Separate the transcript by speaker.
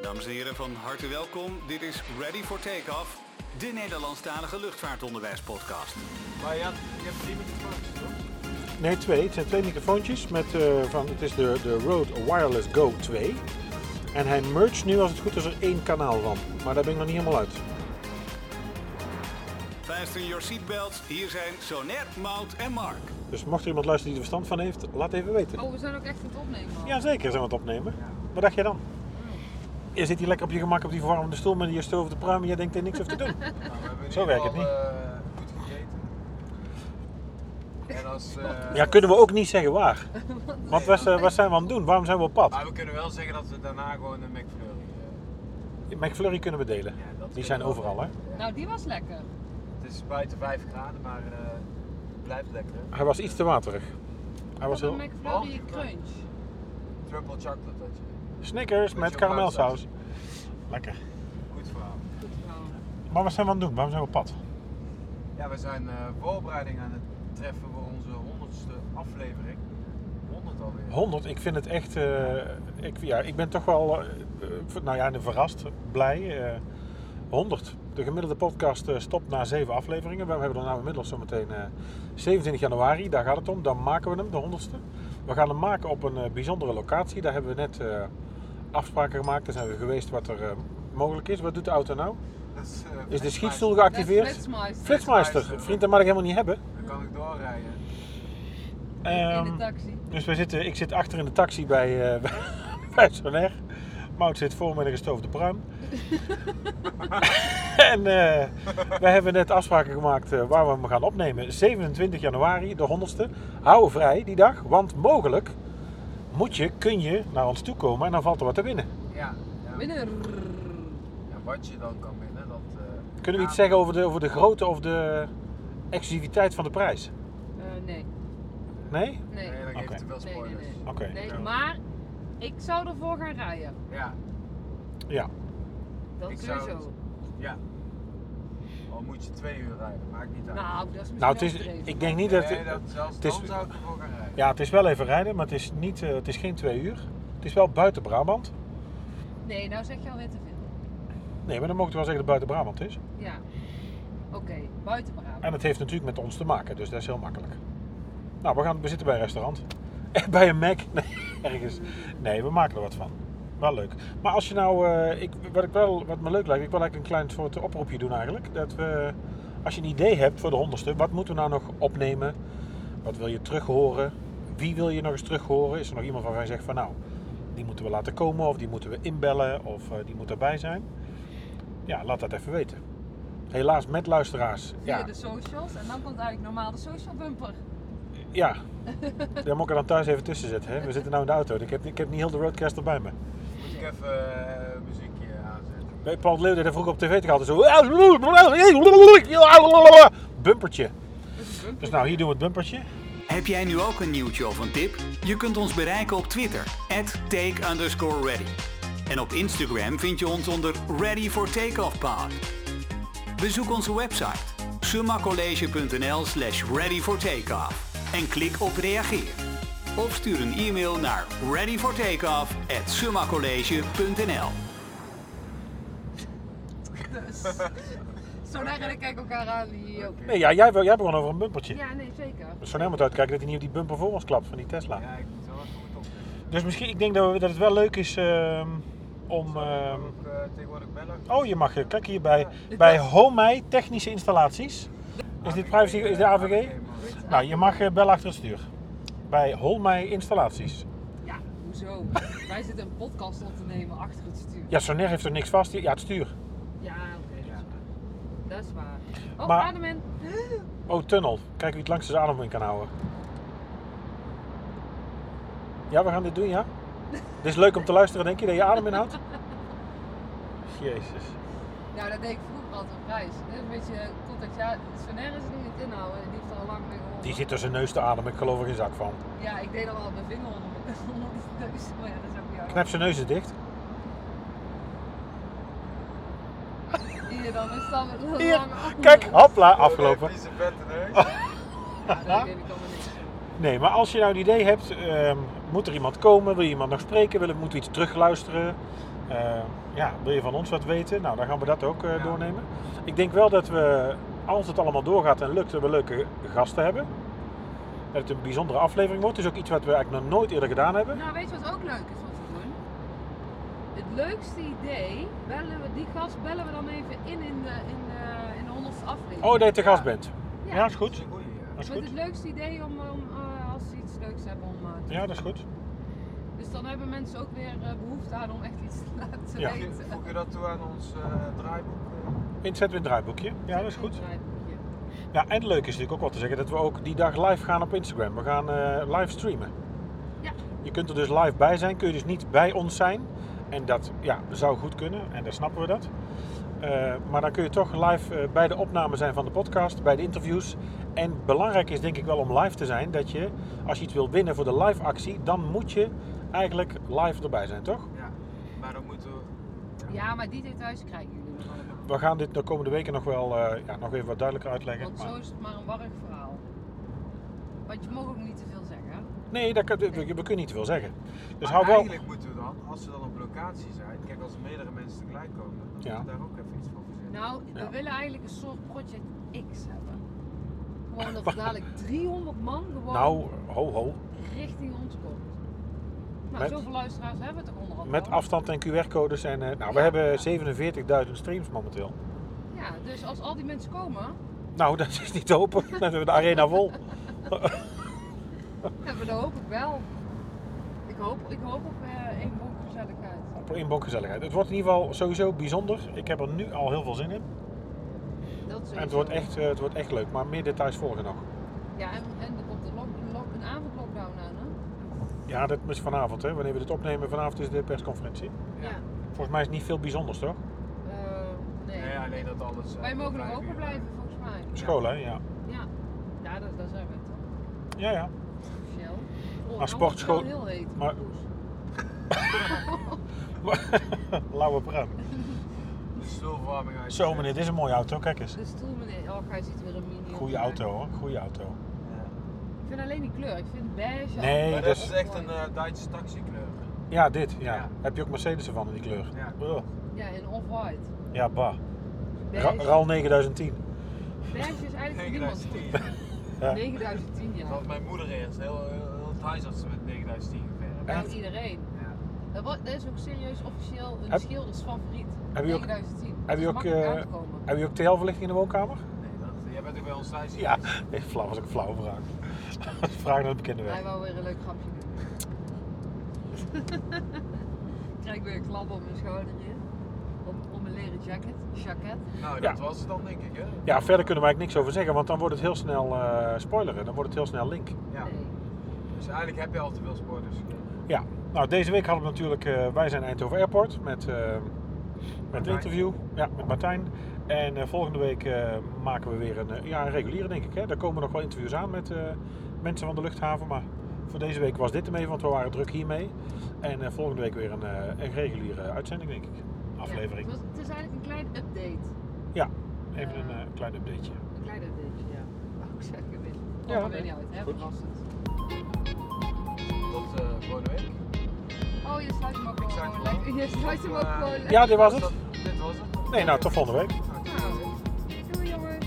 Speaker 1: Dames en heren, van harte welkom. Dit is Ready for Takeoff, de Nederlandstalige luchtvaartonderwijspodcast.
Speaker 2: Maar ja, je hebt drie microfoons, toch?
Speaker 3: Nee, twee. Het zijn twee microfoontjes. Met, eh, van, het is de, de Rode Wireless Go 2. En hij mergt nu, als het goed is, er één kanaal van. Maar daar ben ik nog niet helemaal uit.
Speaker 1: Fasten your seatbelts, hier zijn Sonet, Mout en Mark.
Speaker 3: Dus mocht er iemand luisteren die er verstand van heeft, laat even weten.
Speaker 4: Oh, we zijn ook echt aan het opnemen. al.
Speaker 3: Jazeker, zijn we het opnemen. Wat dacht jij dan? Je zit hier lekker op je gemak op die verwarmde stoel met je stoof te pruimen. Jij denkt er niks over te doen.
Speaker 2: Nou, we hebben in
Speaker 3: Zo
Speaker 2: ieder
Speaker 3: werkt het
Speaker 2: geval, eh, goed gegeten. En als... eh,
Speaker 3: Ja, kunnen we ook niet zeggen waar. Want wat, eh, wat zijn we aan het doen? Waarom zijn we op pad?
Speaker 2: Maar we kunnen wel zeggen dat we daarna gewoon een McFlurry... eh,
Speaker 3: McFlurry kunnen we delen.
Speaker 2: ja, dat
Speaker 3: Die
Speaker 2: is
Speaker 3: zijn
Speaker 2: wel-
Speaker 3: overal, hè?
Speaker 4: Nou, die was lekker.
Speaker 2: Het is buiten 5 graden, maar eh, het blijft lekker.
Speaker 3: Hij was iets te waterig. Hij was
Speaker 4: Wat een
Speaker 3: heel...
Speaker 4: McFlurry
Speaker 2: Oh.
Speaker 4: crunch.
Speaker 2: Triple chocolate had je.
Speaker 3: Snickers met
Speaker 2: Beetje
Speaker 3: karamelsaus. Lekker.
Speaker 2: Goed verhaal.
Speaker 4: Goed verhaal.
Speaker 3: Maar wat zijn we aan het doen? Waarom zijn we op pad?
Speaker 2: Ja, we zijn eh, voorbereiding aan het treffen voor onze honderdste aflevering. 100 alweer.
Speaker 3: 100, ik vind het echt. eh, ik, ja, ik ben toch wel. eh, eh, nou ja, verrast, blij. eh, 100. De gemiddelde podcast eh, stopt na 7 afleveringen. We hebben er nou inmiddels zometeen eh 27 januari, daar gaat het om. Dan maken we hem, de 100ste. We gaan hem maken op een eh, bijzondere locatie. Daar hebben we net eh, afspraken gemaakt. Daar zijn we geweest wat er eh, mogelijk is. Wat doet de auto nou?
Speaker 2: Dat is, eh,
Speaker 3: Is de
Speaker 2: fijn,
Speaker 3: schietstoel
Speaker 4: Dat is
Speaker 3: geactiveerd?
Speaker 4: Flitsmeister.
Speaker 3: Flitsmeister, vriend, dat mag ik helemaal niet hebben.
Speaker 2: maar Dan kan ik doorrijden.
Speaker 4: In de
Speaker 3: Ehm,
Speaker 4: taxi.
Speaker 3: Dus wij zitten, ik zit achter in de taxi bij, eh bij Soner. Mout zit voor met een gestoofde pruim. en eh, wij hebben net afspraken gemaakt eh, waar we hem gaan opnemen. 27 januari, de 100ste. Hou vrij die dag, want mogelijk moet je, kun je naar ons toe komen en dan valt er wat te winnen.
Speaker 2: Ja, ja.
Speaker 4: Winner.
Speaker 2: En wat je dan kan winnen, dat... eh,
Speaker 3: Kunnen we iets
Speaker 2: ja,
Speaker 3: zeggen over de, over de grootte of de exclusiviteit van de prijs?
Speaker 4: Eh, nee,
Speaker 3: Nee?
Speaker 4: nee.
Speaker 2: Nee, dan
Speaker 4: Nee,
Speaker 2: geef
Speaker 3: Oké.
Speaker 2: je te veel
Speaker 4: nee,
Speaker 2: spoilers.
Speaker 4: nee.
Speaker 3: Oké.
Speaker 4: Nee,
Speaker 2: Ja.
Speaker 4: maar ik zou ervoor gaan rijden.
Speaker 2: Ja,
Speaker 3: Ja.
Speaker 4: Dat
Speaker 2: Ik zou
Speaker 4: sowieso.
Speaker 2: ja. Al moet je twee uur rijden, maakt niet uit.
Speaker 4: Nou, dat is misschien
Speaker 3: Nou, het is,
Speaker 4: overdreven.
Speaker 3: ik denk niet dat...
Speaker 2: nee, dat zelfs
Speaker 3: het is-
Speaker 2: dan zou ik ervoor gaan rijden.
Speaker 3: Ja, het is wel even rijden, maar het is, niet, eh, het is geen twee uur. Het is wel buiten Brabant.
Speaker 4: Nee, nou zeg je alweer te veel.
Speaker 3: Nee, maar dan mogen we wel zeggen dat het buiten Brabant is.
Speaker 4: Ja. Oké, buiten Brabant.
Speaker 3: En dat heeft natuurlijk met ons te maken, dus dat is heel makkelijk. Nou, we, gaan, we zitten bij een restaurant. Eh, bij een Mac. Nee, ergens. Nee, we maken er wat van. Wel leuk. Maar als je nou, eh, ik, wat, ik wel, wat me leuk lijkt, ik wil eigenlijk een klein soort oproepje doen eigenlijk. Dat we, als je een idee hebt voor de honderdste, wat moeten we nou nog opnemen? Wat wil je terug horen? Wie wil je nog eens terug horen? Is er nog iemand waarvan je zegt van nou, die moeten we laten komen of die moeten we inbellen of eh, die moet erbij zijn? Ja, laat dat even weten. Helaas met luisteraars.
Speaker 4: Via
Speaker 3: ja.
Speaker 4: de socials. En dan komt eigenlijk normaal de social bumper.
Speaker 3: Ja. Daar moet ik er dan thuis even tussen zetten. Hè? We zitten nu in de auto. dus Ik heb, ik heb niet heel de roadcaster bij me.
Speaker 2: Moet ik even eh, muziekje aanzetten.
Speaker 3: Bij Paul Leeuw deed dat vroeger op tv te dus gaan. Zo... Bumpertje. Dus nou, hier doen we het bumpertje.
Speaker 1: Heb jij nu ook een nieuwtje of een tip? Je kunt ons bereiken op Twitter, take underscore ready. En op Instagram vind je ons onder Ready for Takeoff Pod. Bezoek onze website summacollege.nl slash ready for takeoff en klik op reageer. Of stuur een e-mail naar readyfortakeoff at summacollege.nl
Speaker 4: Dus. Zo naar en ik kijk elkaar aan. die ook.
Speaker 3: Nee, ja, jij, jij begon over een bumpertje.
Speaker 4: Ja, nee, zeker.
Speaker 3: Dus zo helemaal uitkijken dat hij niet op die bumper voor ons klapt van die Tesla.
Speaker 2: Ja, ik moet wel even goed opletten.
Speaker 3: Dus misschien, ik denk dat, we, dat het wel leuk is ehm, om... ehm,
Speaker 2: Ook eh, tegenwoordig bellen.
Speaker 3: Oh, je mag, eh, kijk hier bij, bij Homei Technische Installaties. Is dit privacy, is dit AVG? Nou, je mag eh, bellen achter het stuur. Bij Holmei Installaties.
Speaker 4: Ja, hoezo? Wij zitten een podcast op te nemen achter het stuur.
Speaker 3: Ja, Soner heeft er niks vast. Ja, het stuur.
Speaker 4: Ja, oké, dat is
Speaker 2: Ja.
Speaker 4: waar. Dat is waar. Oh,
Speaker 3: Maar-
Speaker 4: Ademen.
Speaker 3: Oh, tunnel. Kijk wie het langs zijn adem in kan houden. Ja, we gaan dit doen, ja? Dit is leuk om te luisteren, denk je, dat je adem inhoudt? Jezus.
Speaker 4: Nou, dat deed ik vroeger altijd op reis. Dat is een beetje contact. Ja, Sonair is er niet in het inhouden. Die heeft er al lang mee gehoord.
Speaker 3: Die zit er zijn neus te ademen. Ik geloof er geen zak van.
Speaker 4: Ja, ik deed al wel mijn vinger onder mijn onder mijn neus. Maar ja, dat is ook jouw.
Speaker 3: Knijp zijn neus eens dicht.
Speaker 4: Hier dan, is dan een
Speaker 3: Hier,
Speaker 4: lange adem.
Speaker 3: Kijk, hopla,
Speaker 2: Oh,
Speaker 3: eh, afgelopen. Oh.
Speaker 2: nee, vieze vette neus.
Speaker 4: Ja, Nou, dat weet ik allemaal niet.
Speaker 3: Nee, maar als je nou een idee hebt, ehm, moet er iemand komen? Wil je iemand nog spreken? Wil, moet we iets terugluisteren? Eh, ja, wil je van ons wat weten? Nou, dan gaan we dat ook eh,
Speaker 2: Ja.
Speaker 3: doornemen. Ik denk wel dat we, als het allemaal doorgaat en lukt, dat we leuke gasten hebben. Dat het een bijzondere aflevering wordt. Het is ook iets wat we eigenlijk nog nooit eerder gedaan hebben.
Speaker 4: Nou, weet je wat ook leuk is wat we doen? Het leukste idee, bellen we, die gast bellen we dan even in in de, in de, in de 100ste aflevering.
Speaker 3: Oh, dat je te
Speaker 2: Ja.
Speaker 3: gast bent. Ja, is
Speaker 2: Dat
Speaker 3: goed.
Speaker 2: is een goeie, ja.
Speaker 3: Dat is
Speaker 4: Met
Speaker 3: goed.
Speaker 4: het leukste idee om, om, eh, als ze iets leuks hebben om eh, te
Speaker 3: Ja, dat is goed.
Speaker 4: Dus dan hebben mensen ook weer eh, behoefte aan om echt iets te laten
Speaker 3: Ja.
Speaker 2: Voeg je-
Speaker 4: weten.
Speaker 2: Voeg je dat toe aan ons eh, draaiboek?
Speaker 3: Inzet weer een draaiboekje. Ja, dat is goed.
Speaker 4: Een draaiboekje.
Speaker 3: Ja, en leuk is natuurlijk ook wel te zeggen dat we ook die dag live gaan op Instagram. We gaan eh, live streamen.
Speaker 4: Ja.
Speaker 3: Je kunt er dus live bij zijn, kun je dus niet bij ons zijn. En dat ja, zou goed kunnen en daar snappen we dat. Eh, maar dan kun je toch live eh, bij de opname zijn van de podcast, bij de interviews. En belangrijk is denk ik wel om live te zijn dat je, als je iets wil winnen voor de live actie, dan moet je eigenlijk live erbij zijn, toch?
Speaker 2: Ja. Maar dan moeten we...
Speaker 4: Ja, maar die details krijgen jullie nog allemaal.
Speaker 3: We gaan dit de komende weken nog wel eh, ja, nog even wat duidelijker uitleggen.
Speaker 4: Want
Speaker 3: maar-
Speaker 4: zo is het maar een warrig verhaal. Want je mag ook niet te veel zeggen. hè?
Speaker 3: Nee, dat, kan- we, we kunnen niet te veel zeggen.
Speaker 2: maar
Speaker 3: Dus hou wel.
Speaker 2: eigenlijk moeten we dan, als we dan op locatie zijn, kijk als er meerdere mensen tegelijk komen, dan moeten
Speaker 3: Ja.
Speaker 2: we daar ook even iets voor verzinnen.
Speaker 4: Nou, we
Speaker 3: Ja.
Speaker 4: willen eigenlijk een soort Project X hebben. Gewoon dat er dadelijk 300 man gewoon
Speaker 3: Nou, ho ho.
Speaker 4: richting ons komt. Nou,
Speaker 3: Met-
Speaker 4: zoveel luisteraars hebben we toch onderhand
Speaker 3: Met
Speaker 4: wel.
Speaker 3: afstand en QR-codes. En, eh, nou, we
Speaker 4: Ja.
Speaker 3: hebben 47.000 streams momenteel.
Speaker 4: Ja, dus als al die mensen komen,
Speaker 3: Nou, dat is niet te hopen. Dan hebben we de arena vol.
Speaker 4: hebben we dat hoop ik wel. Ik hoop, ik hoop op eh één bonk gezelligheid.
Speaker 3: Op een bonkgezelligheid. Het wordt in ieder geval sowieso bijzonder. Ik heb er nu al heel veel zin in.
Speaker 4: Dat
Speaker 3: En het
Speaker 4: sowieso.
Speaker 3: wordt echt, eh, het wordt echt leuk. Maar meer details volgen nog.
Speaker 4: Ja, en, en er komt een, lock, een, lock, een avondlockdown aan, hè?
Speaker 3: Ja, dat is vanavond. Hè. Wanneer we dit opnemen, vanavond is de persconferentie. Volgens mij is het niet veel bijzonders, toch?
Speaker 4: Eh, nee.
Speaker 2: Nee, alleen dat alles... eh,
Speaker 4: Wij
Speaker 2: om
Speaker 4: mogen
Speaker 2: vijf
Speaker 4: nog open
Speaker 2: uur-
Speaker 4: blijven, volgens mij.
Speaker 3: School, hè? Ja.
Speaker 4: Ja. Ja, dat, daar zijn we toch.
Speaker 3: Ja, ja.
Speaker 4: Officieel. Oh, nou
Speaker 3: sportschool-
Speaker 4: wordt het wel Heel heet.
Speaker 3: maar-
Speaker 4: Poes.
Speaker 3: Lauwe pruim.
Speaker 2: De stoelverwarming uit.
Speaker 3: Zo, meneer, dit is een mooie auto. Kijk eens.
Speaker 4: De stoel, meneer. Oh, hij ziet weer een mini.
Speaker 3: Goeie auto, hoor. Goeie auto.
Speaker 2: Ja.
Speaker 4: Ik vind alleen die kleur. Ik vind beige.
Speaker 3: Nee,
Speaker 2: Maar
Speaker 3: dat
Speaker 2: dat
Speaker 3: is-
Speaker 2: is echt een eh, Duitse taxikleur.
Speaker 3: Ja, dit. Ja.
Speaker 2: Ja.
Speaker 3: Heb je ook Mercedes ervan in die kleur?
Speaker 2: Ja.
Speaker 3: Oh.
Speaker 2: eh,
Speaker 4: Ja, en off-white.
Speaker 3: Ja, bah. Ra-
Speaker 4: Beige.
Speaker 3: RAL 9010.
Speaker 4: beige is eigenlijk voor niemand.
Speaker 2: 9010.
Speaker 3: Ja.
Speaker 4: 9010
Speaker 2: Dat
Speaker 4: jaar.
Speaker 2: had mijn moeder eerst. Heel, heel het huisartsen met 9010 geverfd.
Speaker 4: Nou,
Speaker 3: Echt?
Speaker 4: iedereen.
Speaker 2: Ja.
Speaker 4: Dat, wa- dat is ook serieus officieel een
Speaker 3: Heb-
Speaker 4: schilders favoriet.
Speaker 3: Heb je ook-
Speaker 4: 9010.
Speaker 3: heb je ook,
Speaker 4: makkelijk
Speaker 3: eh,
Speaker 4: aangekomen.
Speaker 3: Heb je ook TL-verlichting in de woonkamer?
Speaker 2: Nee, dat, jij bent ook bij ons thuis
Speaker 3: Ja,
Speaker 2: geweest.
Speaker 3: nee, flauw was ook een flauwe vraag. vraag naar de bekende
Speaker 4: Hij
Speaker 3: weg.
Speaker 4: wou weer een leuk grapje doen. Ik Krijg weer een klap op mijn schouder hier. Op, op mijn leren jacket. jacket.
Speaker 2: Nou,
Speaker 3: Ja.
Speaker 2: dat was het dan denk ik hè.
Speaker 3: Ja, verder kunnen we eigenlijk niks over zeggen, want dan wordt het heel snel eh spoileren. Dan wordt het heel snel link.
Speaker 2: Ja.
Speaker 4: Nee.
Speaker 2: Dus eigenlijk heb je al te veel sporters gekeken.
Speaker 3: Ja, nou deze week hadden we natuurlijk, eh, wij zijn Eindhoven Airport met, eh, met een
Speaker 2: Martijn.
Speaker 3: interview ja, met Martijn. En eh, volgende week eh, maken we weer een, eh, ja, een reguliere denk ik. Hè. Daar komen nog wel interviews aan met eh, mensen van de luchthaven. Maar voor deze week was dit ermee, want we waren druk hiermee. En eh, volgende week weer een, eh, een reguliere uitzending denk ik. Aflevering.
Speaker 4: Ja, het, was, het is eigenlijk een klein update.
Speaker 3: Even een eh, klein updateje.
Speaker 4: Een klein update, ja. Wou ik zeggen, Oh, weet
Speaker 3: Ja,
Speaker 4: ja,
Speaker 3: nee.
Speaker 4: niet uit, hè?
Speaker 3: Goed.
Speaker 4: Verrassend.
Speaker 2: Tot eh volgende week.
Speaker 4: Oh, je sluit hem ook
Speaker 2: Ik
Speaker 4: wel
Speaker 2: sluit
Speaker 4: gewoon
Speaker 2: hem
Speaker 4: lekker.
Speaker 2: ook.
Speaker 4: Je sluit hem ook
Speaker 2: Eh,
Speaker 4: gewoon lekker.
Speaker 3: Ja, dit was het.
Speaker 2: Dat- Dit was het.
Speaker 3: Nee, nou tot volgende week.
Speaker 4: Nou, doei jongens.